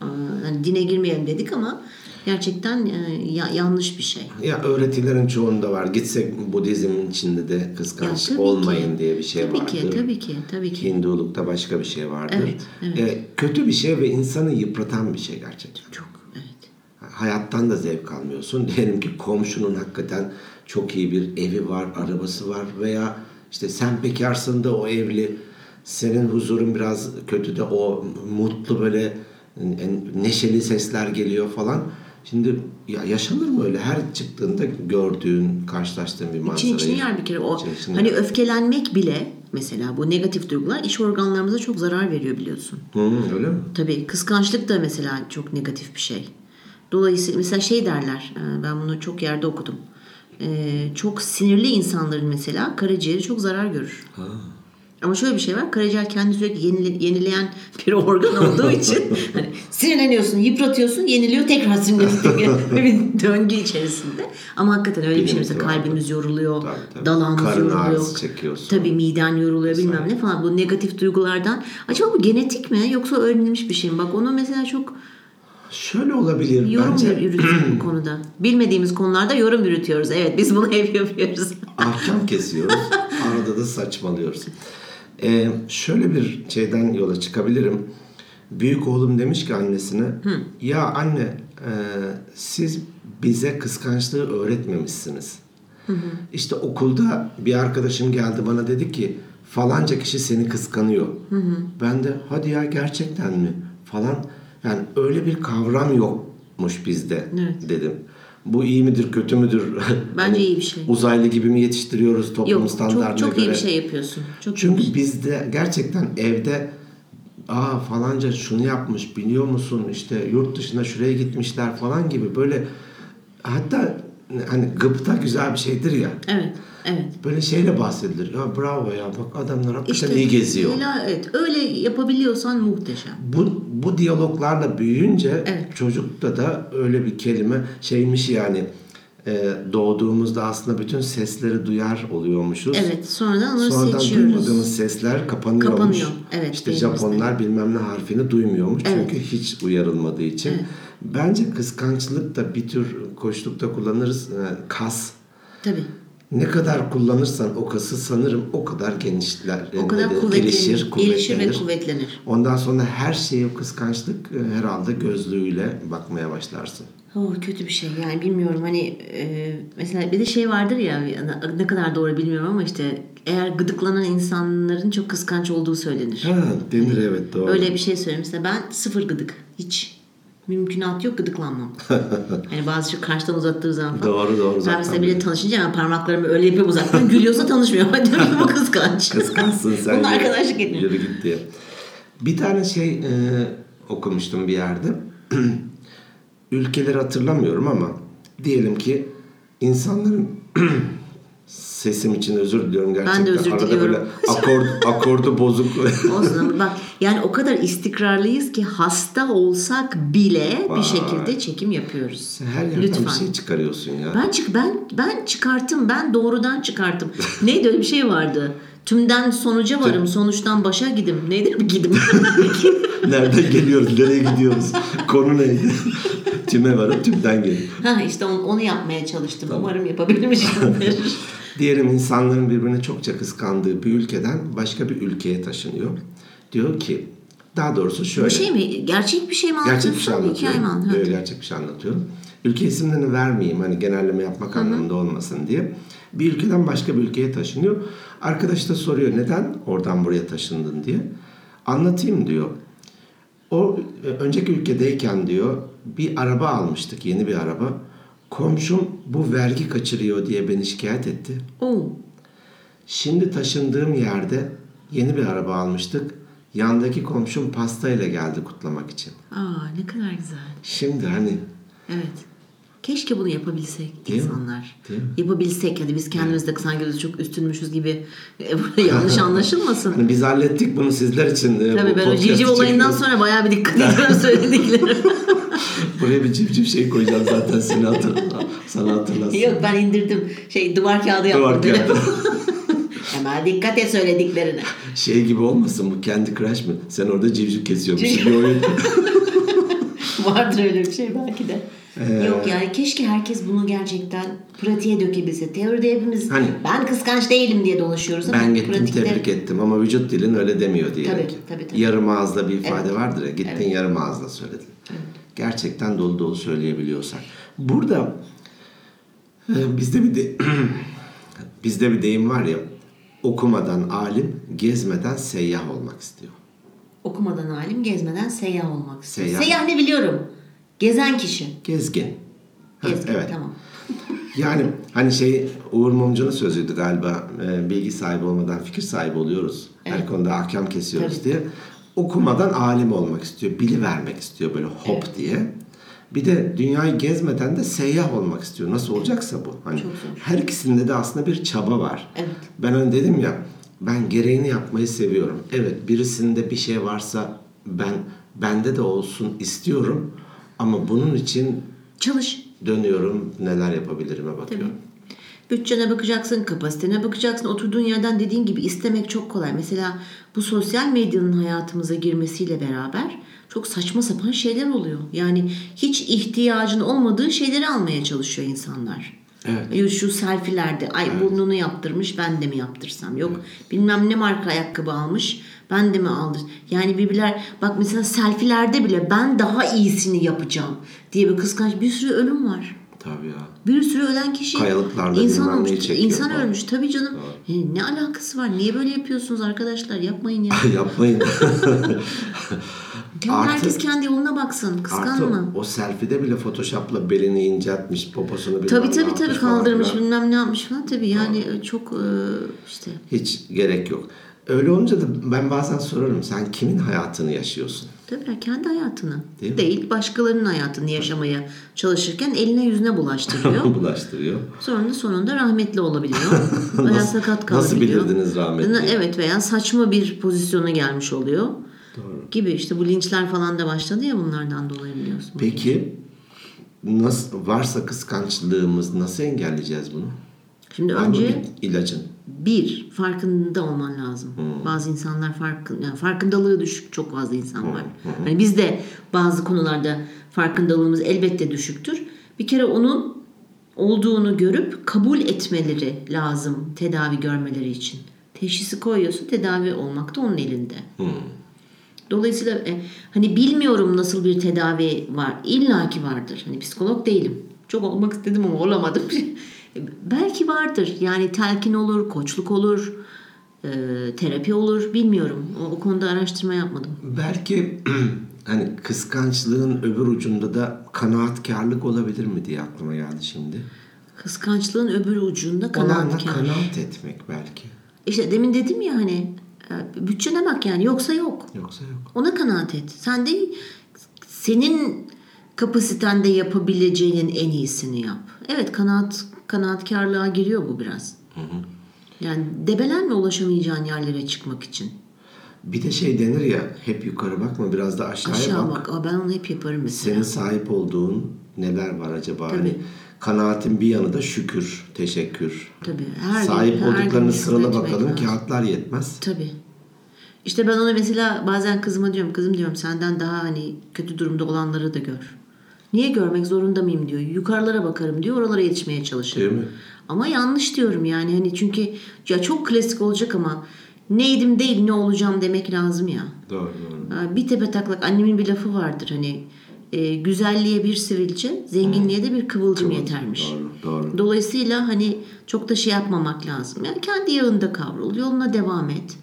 A: E, yani dine girmeyelim dedik ama gerçekten e, ya- yanlış bir şey.
B: Ya öğretilerin çoğunda var. Gitsek Budizm'in içinde de
A: Ya
B: kıskanç
A: tabii ki.
B: olmayın diye bir şey
A: tabii
B: vardır.
A: Ki, tabii ki, tabii ki.
B: Hindulukta başka bir şey vardır.
A: Evet, evet.
B: E, kötü bir şey ve insanı yıpratan bir şey gerçekten.
A: Çok, evet.
B: hayattan da zevk almıyorsun. *laughs* Diyelim ki komşunun hakikaten çok iyi bir evi var, arabası var veya işte sen bekarsın da o evli. Senin huzurun biraz kötü de o mutlu böyle neşeli sesler geliyor falan. Şimdi ya yaşanır mı öyle? Her çıktığında gördüğün, karşılaştığın bir manzarayı.
A: İçin içini yer bir kere. O,
B: İçin içini
A: hani
B: yer.
A: öfkelenmek bile mesela bu negatif duygular iş organlarımıza çok zarar veriyor biliyorsun.
B: Hı, öyle mi?
A: Tabii kıskançlık da mesela çok negatif bir şey. Dolayısıyla mesela şey derler, e, ben bunu çok yerde okudum. E, Çok sinirli insanların mesela karaciğeri çok zarar görür. Ama şöyle bir şey var, karaciğer kendi sürekli yenile- yenileyen bir organ olduğu için hani sinirleniyorsun, yıpratıyorsun, yeniliyor, tekrar sinirleniyorsun. Böyle bir döngü içerisinde. Ama hakikaten öyle bir şey mesela
B: Bilmiyorum.
A: kalbimiz yoruluyor,
B: Tabii, tabii.
A: dalağımız
B: Karın
A: yoruluyor.
B: ağrısı çekiyorsun.
A: Tabii miden yoruluyor bilmem ne falan bu negatif duygulardan. Acaba bu genetik mi yoksa öğrenilmiş bir şey mi? Bak onu mesela çok
B: Şöyle olabilir
A: yorum
B: bence.
A: yürütüyoruz bu
B: *clears throat*
A: konuda. Bilmediğimiz konularda yorum yürütüyoruz. Evet biz bunu *laughs* hep yapıyoruz.
B: ahkam kesiyoruz. Arada da saçmalıyoruz. Ee, şöyle bir şeyden yola çıkabilirim. Büyük oğlum demiş ki annesine ya anne e, siz bize kıskançlığı öğretmemişsiniz. İşte okulda bir arkadaşım geldi bana dedi ki falanca kişi seni kıskanıyor. Ben de hadi ya gerçekten mi falan yani öyle bir kavram yokmuş bizde dedim. Bu iyi midir kötü müdür?
A: *laughs*
B: Hani
A: Bence iyi bir şey.
B: uzaylı gibi mi yetiştiriyoruz toplum
A: Yok
B: standartlarına
A: çok, çok
B: göre?
A: iyi bir şey yapıyorsun. Çok iyi. şey.
B: Çünkü bizde gerçekten evde aa falanca şunu yapmış biliyor musun işte yurt dışına şuraya gitmişler falan gibi böyle hatta hani gıpta güzel bir şeydir ya.
A: Evet. Evet.
B: Böyle şeyle bahsedilir. Ya bravo ya bak adamlar hakikaten
A: İşte
B: iyi geziyor.
A: ila- evet. Öyle yapabiliyorsan muhteşem.
B: Bu, bu diyaloglarla büyüyünce
A: Evet.
B: çocukta da öyle bir kelime şeymiş yani e, doğduğumuzda aslında bütün sesleri duyar oluyormuşuz.
A: Evet. Sonradan onu
B: Sonradan
A: seçiyoruz.
B: duymadığımız sesler kapanıyormuş.
A: Kapanıyor, evet,
B: İşte
A: beynimizde.
B: Japonlar bilmem ne harfini duymuyormuş
A: Evet.
B: çünkü hiç uyarılmadığı için.
A: Evet.
B: Bence kıskançlık da bir tür koçlukta kullanırız e, kas.
A: Tabii.
B: Ne kadar kullanırsan o kası sanırım o kadar genişler.
A: O kadar
B: yani
A: kuvvetlenir.
B: e, gelişir,
A: Gelişir, ve
B: kuvvetlenir.
A: kuvvetlenir.
B: Ondan sonra her şeye kıskançlık e, herhalde gözlüğüyle bakmaya başlarsın.
A: Oh, kötü bir şey yani bilmiyorum hani e, mesela bir de şey vardır ya ne- ne kadar doğru bilmiyorum ama işte eğer gıdıklanan insanların çok kıskanç olduğu söylenir.
B: Ha, denir evet doğru.
A: Öyle bir şey söyleyeyim size. Ben sıfır gıdık. Hiç. Mümkünat
B: *laughs*
A: yok gıdıklanmam. hani bazı şu karşıdan uzattığı zaman falan.
B: Doğru, doğru,
A: Ben
B: uzaktan
A: mesela biriyle tanışınca ben parmaklarımı öyle yapıp uzaktan gülüyorsa tanışmıyor. *laughs* Ben diyorum ki bu kıskanç.
B: Kıskansın sen.
A: Bununla
B: yürü-
A: arkadaşlık etmiyor.
B: Yürü git diye. Bir tane şey e, okumuştum bir yerde. *clears throat* Ülkeleri hatırlamıyorum ama diyelim ki insanların *clears throat* sesim için özür diliyorum gerçekten.
A: özür
B: Arada
A: diliyorum.
B: böyle
A: *laughs*
B: akord, akordu bozuk.
A: Olsun ama bak yani o kadar istikrarlıyız ki hasta olsak bile
B: Vay.
A: bir şekilde çekim yapıyoruz.
B: Sen her yerden
A: Lütfen.
B: bir şey çıkarıyorsun ya.
A: Ben çık ben ben çıkarttım. Ben doğrudan çıkarttım. Neydi öyle bir şey vardı. Tümden sonuca varım, sonuçtan başa gidim. Neydi bir gidim. *laughs*
B: Nereden geliyoruz, nereye gidiyoruz? Konu neydi? *laughs* Tüme varıp tümden gelin.
A: Ha işte onu, onu yapmaya çalıştım.
B: *laughs*
A: Umarım yapabilmişimdir.
B: Diyelim insanların birbirini çokça kıskandığı bir ülkeden başka bir ülkeye taşınıyor. Diyor ki, daha doğrusu şöyle.
A: Bu şey mi? Gerçek bir şey mi
B: gerçek bir
A: anlatıyorsun?
B: şey
A: Hikaye mi
B: anlatıyorum.
A: anlatıyorsun?
B: Böyle gerçek bir şey anlatıyorum. Ülke isimlerini vermeyeyim hani genelleme yapmak anlamında olmasın diye. Bir ülkeden başka bir ülkeye taşınıyor. Arkadaş da soruyor neden oradan buraya taşındın diye. Anlatayım diyor. O e, önceki ülkedeyken diyor bir araba almıştık yeni bir araba. Komşum bu vergi kaçırıyor diye beni şikayet etti.
A: Oo.
B: Şimdi taşındığım yerde yeni bir araba almıştık. Yandaki komşum pastayla geldi kutlamak için.
A: Aa, ne kadar güzel.
B: Şimdi hani
A: Evet. Keşke bunu yapabilsek
B: Değil mi?
A: insanlar.
B: Değil mi?
A: Yapabilsek hadi biz kendimiz de sanki biz çok üstünmüşüz gibi e, burada *laughs* yanlış anlaşılmasın.
B: Hani biz hallettik bunu sizler için. e, bu
A: Tabii ben o
B: podcast'ı
A: civciv
B: *laughs*
A: olayından
B: çekiyoruz.
A: sonra bayağı bir dikkat ediyorum söylediklerime. *laughs*
B: Buraya bir civciv şey koyacağım zaten seni hatırla, sana hatırlasın.
A: Yok ben indirdim. Şey duvar kağıdı yaptım.
B: Duvar kağıdı.
A: telefon. *laughs* Hemen dikkat et söylediklerine. *laughs*
B: Şey gibi olmasın bu kendi Crush mı? Sen orada civciv
A: *laughs*
B: kesiyormuşsun.
A: Civciv.
B: bir oyun.
A: Vardır öyle bir şey belki de.
B: Ee,
A: Yok yani keşke herkes bunu gerçekten pratiğe dökebilse. Teoride hepimiz
B: Hani-
A: ben kıskanç değilim diye dolaşıyoruz ama
B: ben gittim
A: pratikte
B: tebrik ettim ama vücut dilin öyle demiyor diye.
A: Tabii, tabii, tabii.
B: Yarım ağızla bir ifade vardır ya. Gittin yarım ağızla söyledin. Gerçekten dolu dolu söyleyebiliyorsan. Burada e, bizde bir de, *clears throat* bizde bir deyim var ya okumadan alim, gezmeden seyyah olmak istiyor.
A: okumadan alim gezmeden seyyah olmak istiyor.
B: Seyyah.
A: Seyyah, ne biliyorum? Gezen kişi.
B: Gezgin. Ha,
A: Gezgin
B: evet.
A: tamam.
B: Yani hani şey Uğur Mumcu'nun sözüydü galiba. e, bilgi sahibi olmadan fikir sahibi oluyoruz. Her konuda ahkam kesiyoruz
A: Tabii.
B: diye. Okumadan alim olmak istiyor. Bili vermek istiyor böyle hop diye. Bir de dünyayı gezmeden de seyyah olmak istiyor. Nasıl olacaksa bu. Hani
A: Çok zor.
B: her ikisinde de aslında bir çaba var.
A: Evet.
B: Ben hani dedim ya ben gereğini yapmayı seviyorum. Evet birisinde bir şey varsa ben bende de olsun istiyorum. Ama bunun için
A: Çalış.
B: dönüyorum neler yapabilirime bakıyorum.
A: Bütçene bakacaksın, kapasitene bakacaksın. Oturduğun yerden dediğin gibi istemek çok kolay. Mesela bu sosyal medyanın hayatımıza girmesiyle beraber çok saçma sapan şeyler oluyor. Yani hiç ihtiyacın olmadığı şeyleri almaya çalışıyor insanlar.
B: Evet.
A: Ya Şu selfilerde ay burnunu yaptırmış ben de mi yaptırsam yok bilmem ne marka ayakkabı almış ben de mi aldır yani birbirler bak mesela selfilerde bile ben daha iyisini yapacağım diye bir kıskanç bir sürü ölüm var.
B: Tabii ya. *laughs*
A: Bir sürü ölen kişi
B: Kayalıklarda
A: insan
B: bilmem
A: olmuş.
B: neyi çekiyor
A: insan
B: falan.
A: ölmüş tabii canım. E, ne alakası var? Niye böyle yapıyorsunuz arkadaşlar?
B: *laughs*
A: Yapmayın ya.
B: Yapmayın.
A: Kendi-
B: Artı-
A: herkes kendi yoluna baksın.
B: Artı
A: Kıskanma.
B: o selfie'de bile photoshopla belini inceltmiş, poposunu bilmem
A: Tabii
B: ne
A: tabii
B: yapmış
A: tabii
B: falan
A: kaldırmış
B: filan.
A: bilmem ne yapmış falan tabii yani e, çok e, işte
B: Hiç gerek yok. Öyle olunca da ben bazen sorarım sen kimin hayatını yaşıyorsun?
A: Tabii kendi hayatını
B: Değil mi?
A: değil, başkalarının hayatını yaşamaya çalışırken eline
B: *laughs*
A: yüzüne bulaştırıyor.
B: bulaştırıyor.
A: Sonra sonunda
B: *laughs*
A: rahmetli olabiliyor. Veya sakat kalabiliyor.
B: nasıl bilirdiniz rahmetli?
A: Na- Evet veya saçma bir pozisyona gelmiş oluyor. Gibi işte bu linçler falan da başladı ya bunlardan dolayı biliyorsun.
B: Peki nasıl varsa kıskançlığımız nasıl engelleyeceğiz bunu?
A: Şimdi
B: Var mı
A: önce
B: bir ilacın.
A: bir farkında olman lazım. Bazı insanlar farkın yani farkındalığı düşük çok fazla insan var. Hani biz de bazı konularda farkındalığımız elbette düşüktür. Bir kere onun olduğunu görüp kabul etmeleri lazım tedavi görmeleri için. Teşhisi koyuyorsun tedavi olmak da onun elinde. Dolayısıyla e, hani bilmiyorum nasıl bir tedavi var. İlla ki vardır. Hani psikolog değilim. Çok olmak istedim ama olamadım. *laughs* E, Belki vardır. Yani telkin olur, koçluk olur, e, terapi olur. Bilmiyorum. O, o konuda araştırma yapmadım.
B: Belki *clears throat* hani kıskançlığın öbür ucunda da kanaatkarlık olabilir mi diye aklıma geldi şimdi.
A: Kıskançlığın öbür ucunda
B: Olanda
A: kanaatkar.
B: kanaat etmek belki.
A: İşte demin dedim ya hani e, bütçene bak yani yoksa yok.
B: Yoksa yok.
A: Ona kanaat et. Sen de senin kapasitende yapabileceğinin en iyisini yap. Evet kanaat kanaatkarlığa giriyor bu biraz. Yani debelenme ulaşamayacağın yerlere çıkmak için.
B: Bir de şey denir ya hep yukarı bakma biraz da aşağıya
A: Aşağı
B: bak.
A: bak. Aa, ben onu hep yaparım mesela.
B: Senin sahip olduğun neler var acaba? Hani kanaatin bir yanı da şükür, teşekkür.
A: Tabii. Her gün-
B: sahip
A: her gün
B: olduklarını
A: şükür
B: sırala
A: etmek
B: bakalım
A: lazım.
B: kağıtlar yetmez.
A: Tabii. İşte ben ona mesela bazen kızıma diyorum. Kızım diyorum senden daha hani kötü durumda olanları da gör. Niye görmek zorunda mıyım diyor. Yukarılara bakarım diyor. Oralara yetişmeye çalışırım.
B: Değil Şey mi?
A: Ama yanlış diyorum yani hani çünkü ya çok klasik olacak ama neydim değil ne olacağım demek lazım ya.
B: Doğru doğru.
A: Ee, Bir tepe taklak annemin bir lafı vardır hani e, güzelliğe bir sivilce zenginliğe de bir kıvılcım yetermiş.
B: Doğru doğru.
A: Dolayısıyla hani çok da şey yapmamak lazım. Yani kendi yağında kavrul yoluna devam et.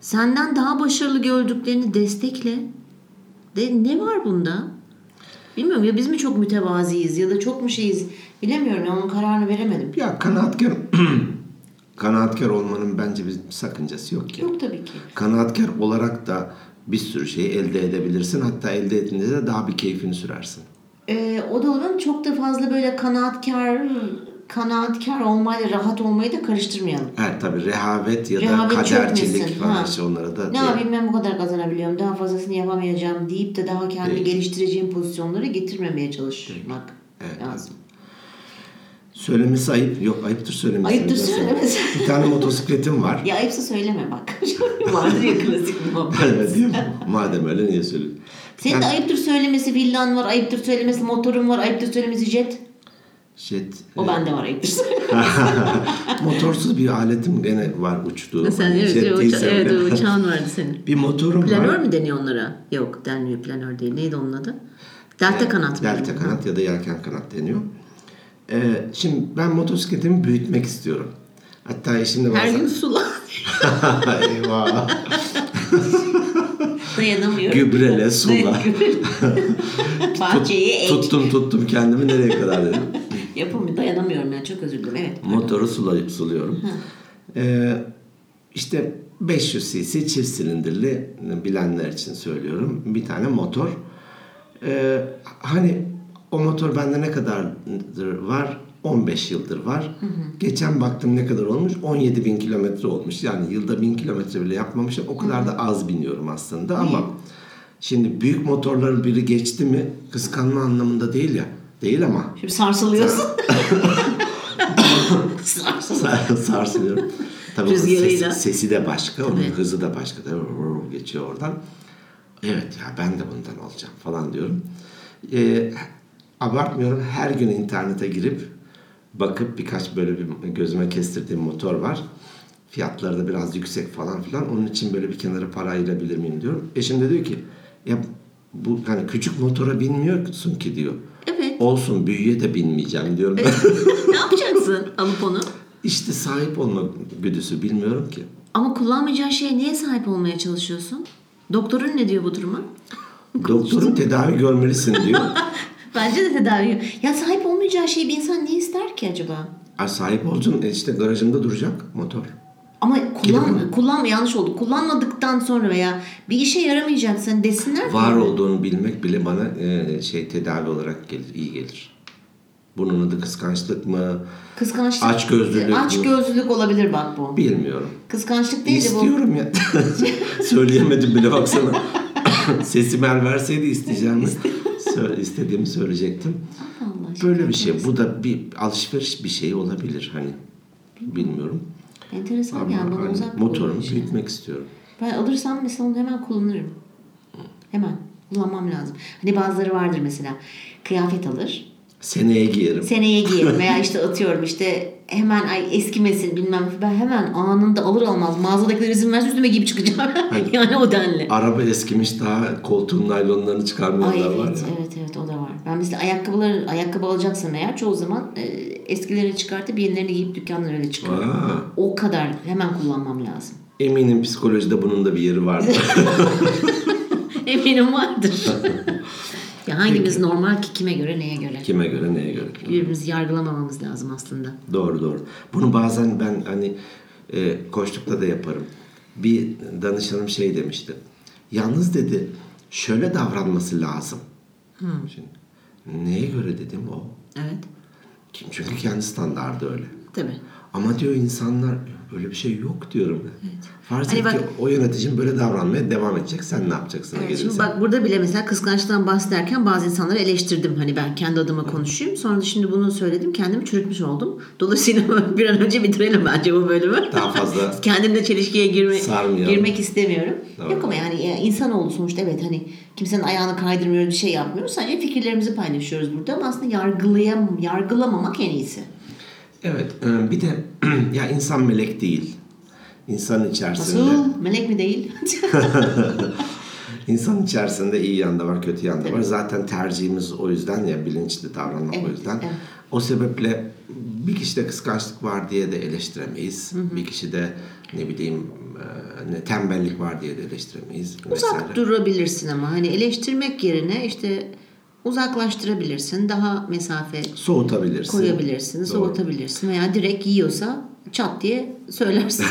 A: Senden daha başarılı gördüklerini destekle. De ne var bunda? Bilmiyorum ya biz mi çok mütevaziyiz ya da çok mu şeyiz bilemiyorum ya onun kararını veremedim.
B: Ya kanaatkar *clears throat* kanaatkar olmanın bence bir sakıncası yok ki.
A: Yok tabii ki.
B: Kanaatkar olarak da bir sürü şeyi elde edebilirsin. Hatta elde ettiğinde de daha bir keyfini sürersin.
A: Ee, o da olan çok da fazla böyle kanaatkar
B: Hmm.
A: kanaatkar olmayla rahat olmayı da karıştırmayalım.
B: Evet tabii rehavet ya da
A: Rehavet
B: kadercilik
A: çökmesin,
B: falan
A: ha.
B: işte onlara da
A: Ne yapayım ben bu kadar kazanabiliyorum daha fazlasını yapamayacağım deyip de daha kendi
B: Değil.
A: geliştireceğim pozisyonlara getirmemeye çalışmak lazım.
B: söylemesi ayıp. Yok ayıptır söylemesi.
A: Ayıptır
B: Ben söyleyeyim. *laughs*
A: söylemesi.
B: Bir tane motosikletim
A: *laughs*
B: var. *laughs*
A: Ya ayıpsa söyleme bak. *laughs* Vardır ya klasik muhabbet.
B: Evet, değil mi? Madem öyle niye söylüyorsun?
A: Senin de
B: Yani-
A: ayıptır söylemesi villan var, ayıptır söylemesi motorun var, ayıptır söylemesi jet.
B: Jet,
A: O
B: e,
A: bende
B: *laughs*
A: var ayıptır söylemesi.
B: motorsuz bir aletim gene var uçtuğu. Hani jet
A: o
B: değilse öyle.
A: uçağın vardı
B: *laughs*
A: senin.
B: Bir motorum
A: Planör
B: var.
A: mü deniyor onlara? Yok denmiyor planör değil. Neydi onun adı? Delta kanat mı?
B: Delta kanat ya da yelken kanat deniyor. Ee, şimdi ben motosikletimi büyütmek istiyorum. Hatta işimde
A: Her gün
B: bazen...
A: sula.
B: *laughs* Eyvah.
A: *laughs* Dayanamıyorum.
B: Gübrele,
A: *laughs*
B: sula.
A: Bahçeyi ek.
B: tuttum tuttum kendimi nereye kadar dedim.
A: Yapamıyorum. Dayanamıyorum yani. Çok özür dilerim. Evet.
B: Motoru sula- suluyorum. Ee, işte 500 cc çift silindirli bilenler için söylüyorum. Bir tane motor. Ee, hani o motor bende ne kadardır var? 15 yıldır var. Geçen baktım ne kadar olmuş? 17 bin kilometre olmuş. Yani yılda bin kilometre bile yapmamışım. O kadar da az biniyorum aslında ama şimdi büyük motorların biri geçti mi kıskanma anlamında değil ya. Değil ama
A: Şimdi sarsılıyorsun. Sarsılıyorsun.
B: *laughs* Sar- sarsılıyorum. Tabii onun
A: Rüzgarıyla.
B: sesi, sesi de başka, onun
A: Tabii.
B: hızı da başka. Tabii vur geçiyor oradan. Evet ya ben de bundan olacağım falan diyorum. Ee, abartmıyorum her gün internete girip bakıp birkaç böyle bir gözüme kestirdiğim motor var. Fiyatları da biraz yüksek falan filan. Onun için böyle bir kenara para ayırabilir miyim diyorum. Eşim de diyor ki ya bu hani küçük motora binmiyorsun ki diyor.
A: Evet.
B: Olsun büyüye de binmeyeceğim diyorum. Ben
A: *laughs* ne yapacaksın alıp onu?
B: İşte sahip olma güdüsü bilmiyorum ki.
A: Ama kullanmayacağın şeye niye sahip olmaya çalışıyorsun? Doktorun ne diyor bu duruma?
B: Doktorun tedavi görmelisin diyor.
A: *laughs*
B: *laughs*
A: Bence de tedavi. Ya sahip olmayacağı şeyi bir insan ne ister ki acaba?
B: Ay sahip olacaksın. E işte garajımda duracak motor.
A: Ama
B: Gibi
A: kullan, kullan yanlış oldu. Kullanmadıktan sonra veya bir işe yaramayacak sen desinler mi?
B: Var olduğunu bilmek bile bana e, şey tedavi olarak gelir, iyi gelir. Bunun adı kıskançlık mı?
A: Kıskançlık.
B: Açgözlülük bu.
A: Açgözlülük olabilir bak bu.
B: Bilmiyorum.
A: Kıskançlık değil de bu.
B: İstiyorum ya. *laughs* Söyleyemedim bile baksana. *laughs* Sesim el verseydi isteyeceğimi *laughs* sö- istediğimi söyleyecektim.
A: Allah aşkına.
B: Böyle bir şey. Bu da bir alışveriş bir şey olabilir hani. Bilmiyorum.
A: Enteresan
B: Ama
A: yani bana
B: hani
A: uzak
B: motorumu
A: bir şey.
B: büyütmek istiyorum.
A: Ben alırsam mesela onu hemen kullanırım. Hemen kullanmam lazım. Hani bazıları vardır mesela kıyafet alır.
B: Seneye giyerim.
A: Seneye
B: *laughs*
A: giyerim veya işte atıyorum işte hemen ay eskimesin bilmem ben hemen anında alır almaz mağazadakiler izin verse üstüme giyip çıkacağım. *laughs* yani o denli.
B: Araba eskimiş daha koltuğun naylonlarını
A: Ay
B: çıkarmıyorlar var
A: evet,
B: ya.
A: evet evet o da var. Ben mesela ayakkabıları ayakkabı alacaksam eğer çoğu zaman e, eskilerini çıkartıp yenilerini giyip dükkandan öyle çıkıyorum.
B: Aa,
A: O kadar hemen kullanmam lazım.
B: eminim psikolojide bunun da bir yeri vardı.
A: *laughs* Eminim vardır. *laughs* ya hangimiz normal ki kime göre neye göre?
B: Kime göre neye göre.
A: Birbirimizi yargılamamamız lazım aslında.
B: Doğru doğru. Bunu bazen ben hani e, koçlukta da yaparım. Bir danışanım şey demişti. Yalnız dedi şöyle davranması lazım. Şimdi, neye göre dedim o.
A: Evet.
B: Kim? Çünkü kendi standardı öyle.
A: Tabii.
B: Ama diyor insanlar böyle bir şey yok diyorum. Farz et
A: Hani
B: ki
A: bak-
B: o yöneticim böyle davranmaya devam edecek. Sen ne yapacaksın?
A: Evet,
B: gelirsen.
A: şimdi bak burada bile mesela kıskançlıktan bahsederken bazı insanları eleştirdim. Hani ben kendi adıma konuşayım. Sonra da şimdi bunu söyledim. Kendimi çürütmüş oldum. Dolayısıyla *laughs* bir an önce bitirelim bence bu bölümü.
B: Daha fazla
A: *laughs* Kendimle çelişkiye girme,
B: Sarmayalım.
A: girmek istemiyorum.
B: Doğru.
A: Yok ama yani ya, insanoğlu sonuçta evet hani kimsenin ayağını kaydırmıyoruz bir şey yapmıyoruz. Sadece fikirlerimizi paylaşıyoruz burada ama aslında yargılayam, yargılamamak en iyisi.
B: Evet e, bir de *clears throat* ya insan melek değil. İnsan içerisinde
A: Nasıl? Melek mi değil? *laughs*
B: insan içerisinde iyi yanda var, kötü yanda var. Zaten tercihimiz o yüzden ya bilinçli davranmak o
A: Evet,
B: yüzden.
A: evet.
B: O sebeple bir kişide kıskançlık var diye de eleştiremeyiz. Bir kişide ne bileyim e, ne tembellik var diye de eleştiremeyiz. vesaire.
A: Uzak durabilirsin ama hani eleştirmek yerine işte uzaklaştırabilirsin. Daha mesafe
B: Soğutabilirsin.
A: koyabilirsin, soğutabilirsin veya direkt yiyorsa çat diye söylersin.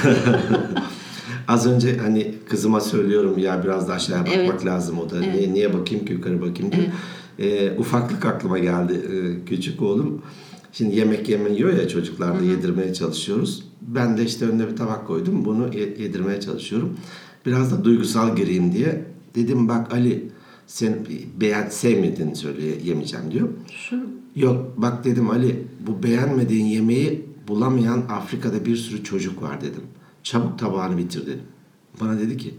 B: Az önce hani kızıma söylüyorum ya biraz da aşağıya bakmak
A: Evet.
B: lazım o da. Niye, niye bakayım ki yukarı bakayım diye. Ee, ufaklık aklıma geldi ee, küçük oğlum. Şimdi yemek yemiyor ya çocuklar da yedirmeye çalışıyoruz. Ben de işte önüne bir tabak koydum. Bunu ye- yedirmeye çalışıyorum. Biraz da duygusal gireyim diye. Dedim bak Ali sen beğen sevmediğini söyle yemeyeceğim diyor.
A: Şu
B: Yok bak dedim Ali bu beğenmediğin yemeği bulamayan Afrika'da bir sürü çocuk var dedim. Çabuk tabağını bitir dedim. Bana dedi ki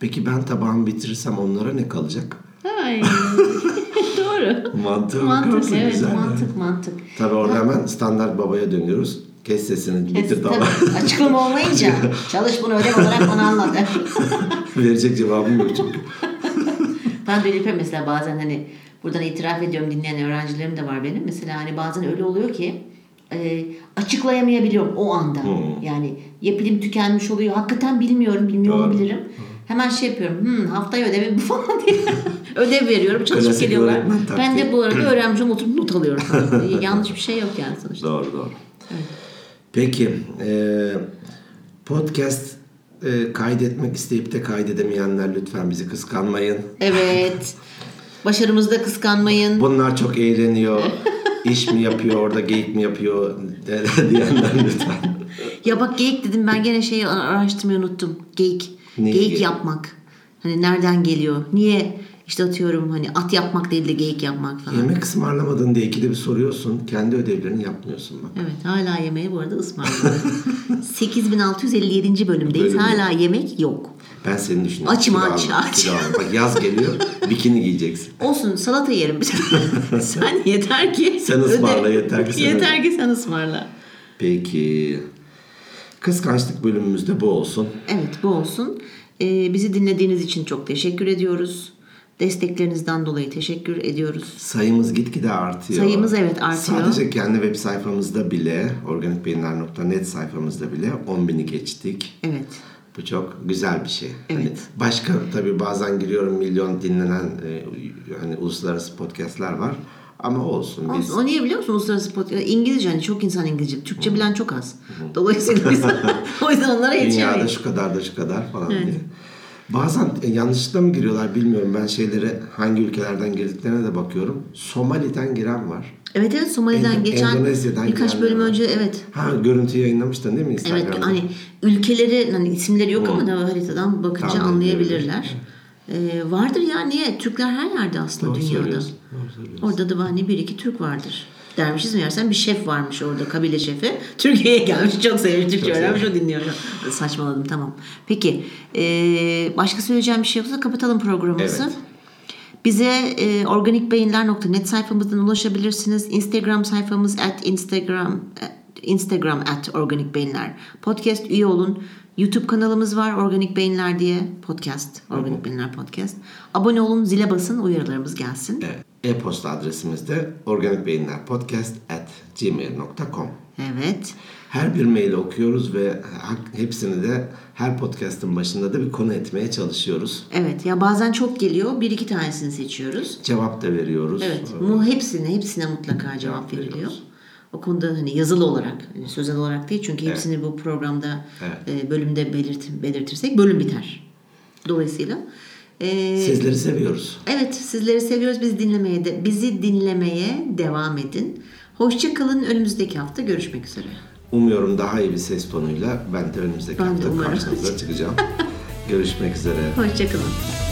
B: peki ben tabağımı bitirirsem onlara ne kalacak?
A: Ay. *laughs* Doğru.
B: Mantığı
A: Mantık
B: bakarsın
A: evet
B: güzel yani.
A: mantık mantık.
B: Tabii orada hemen standart babaya dönüyoruz. Kes sesini bitir
A: Tabii,
B: tabağı.
A: açıklama olmayınca çalış bunu ödev olarak bana anlat.
B: *laughs* Verecek cevabım yok çünkü.
A: ben de Elif'e mesela bazen hani buradan itiraf ediyorum dinleyen öğrencilerim de var benim. Mesela hani bazen öyle oluyor ki e, açıklayamayabiliyorum o anda. Yani ya pilim tükenmiş oluyor. Hakikaten bilmiyorum, bilmiyor
B: Hmm. Doğru.
A: olabilirim. Hemen şey yapıyorum. Hmm, haftaya ödevi bu falan *laughs* diye. Ödev veriyorum. Çalışıp
B: Klasik
A: geliyorlar.
B: öğretmen
A: Ben
B: taktiği.
A: de
B: *clears throat*
A: bu arada öğrencim oturup not alıyorum. falan. Yanlış bir şey yok yani sonuçta.
B: Doğru doğru. Peki e, podcast e, kaydetmek isteyip de kaydedemeyenler lütfen bizi kıskanmayın.
A: Evet. Başarımızda kıskanmayın.
B: Bunlar çok
A: *laughs*
B: eğleniyor. iş mi yapıyor orada geyik mi yapıyor *laughs* de- diyenler lütfen.
A: Ya bak geyik dedim ben gene şeyi ara- araştırmayı unuttum. Geyik.
B: Neyi
A: geyik
B: geyik?
A: yapmak. Hani nereden geliyor? Niye? İşte atıyorum hani at yapmak değil de geyik yapmak falan.
B: Yemek ısmarlamadın diye ikide bir soruyorsun. Kendi ödevlerini yapmıyorsun bak.
A: Evet hala yemeği bu arada
B: *laughs*
A: ısmarladım. 8657. bölümdeyiz.
B: Bölümde.
A: Hala yemek yok.
B: Ben seni düşünüyorum.
A: Açım,
B: Kilo
A: aç,
B: alma,
A: aç.
B: kilo alma. Bak yaz
A: *laughs*
B: geliyor bikini giyeceksin.
A: Olsun
B: *laughs*
A: salata yerim. sen yeter ki.
B: Sen ısmarla, yeter ki sen
A: yeter ki sen ısmarla.
B: Peki. Kıskançlık bölümümüzde bu olsun.
A: Evet bu olsun. Ee, bizi dinlediğiniz için çok teşekkür ediyoruz. Desteklerinizden dolayı teşekkür ediyoruz.
B: Sayımız gitgide artıyor.
A: Sayımız evet artıyor.
B: Sadece kendi web sayfamızda bile organikbeyinler.net sayfamızda bile 10 bini geçtik.
A: Evet.
B: Bu çok güzel bir şey.
A: Evet.
B: Hani başka tabii bazen giriyorum milyon dinlenen e, hani uluslararası podcastler var. Ama olsun.
A: O,
B: Biz
A: o niye biliyor musun? Uluslararası podcast. İngilizce hani çok insan İngilizce. Türkçe bilen çok az.
B: *laughs*
A: Dolayısıyla biz o yüzden onlara
B: dünyada
A: yetişemeyiz.
B: şu kadar da şu kadar falan diye. Bazen e, yanlışlıkla mı giriyorlar bilmiyorum. Ben şeylere hangi ülkelerden girdiklerine de bakıyorum. Somali'den giren var.
A: Evet evet Somali'den
B: Endo-
A: geçen
B: Endonezya'dan
A: birkaç
B: girenler
A: bölüm
B: var.
A: önce evet.
B: Ha görüntü yayınlamıştın değil mi
A: Evet
B: Instagram'da?
A: hani ülkeleri hani isimleri yok ama da haritadan bakınca
B: Tahmin
A: anlayabilirler. Ee, vardır ya niye? Türkler her yerde aslında
B: Doğru
A: dünyada.
B: söylüyorsun, doğru söylüyorsun.
A: Orada da hani bir iki Türk vardır. Dermişiz mi yersen bir şef varmış orada kabile şefi. *laughs* Türkiye'ye gelmiş çok sevmiş Türkçe öğrenmiş o dinliyor. Saçmaladım tamam. Peki ee, başka söyleyeceğim bir şey yoksa kapatalım programımızı.
B: Evet.
A: Bize e, organikbeyinler.net sayfamızdan ulaşabilirsiniz. Instagram sayfamız at Instagram Instagram at Organik Beyinler. Podcast üye olun. YouTube kanalımız var Organik Beyinler diye podcast. Organik Beyinler podcast. Abone olun, zile basın, uyarılarımız gelsin.
B: Evet. E, E-posta adresimiz de organikbeyinlerpodcast@gmail.com.
A: Evet.
B: Her bir maili okuyoruz ve hak- hepsini de her podcast'ın başında da bir konu etmeye çalışıyoruz.
A: Evet. Ya bazen çok geliyor. Bir iki tanesini seçiyoruz.
B: Cevap da veriyoruz.
A: Evet.
B: Ee,
A: Bu hepsine hepsine mutlaka cevap veriliyor.
B: veriyoruz.
A: O konuda hani yazılı olarak, hani sözel olarak değil çünkü hepsini bu programda e, bölümde belirt belirtirsek bölüm biter. Dolayısıyla e,
B: Ee, Sizleri seviyoruz.
A: evet sizleri seviyoruz. Biz dinlemeye de bizi dinlemeye devam edin. Hoşça kalın. Önümüzdeki hafta görüşmek üzere.
B: Umuyorum daha iyi bir ses tonuyla ben de önümüzdeki
A: Ben de
B: hafta
A: umarım.
B: karşınıza çıkacağım. Görüşmek üzere.
A: Hoşça kalın.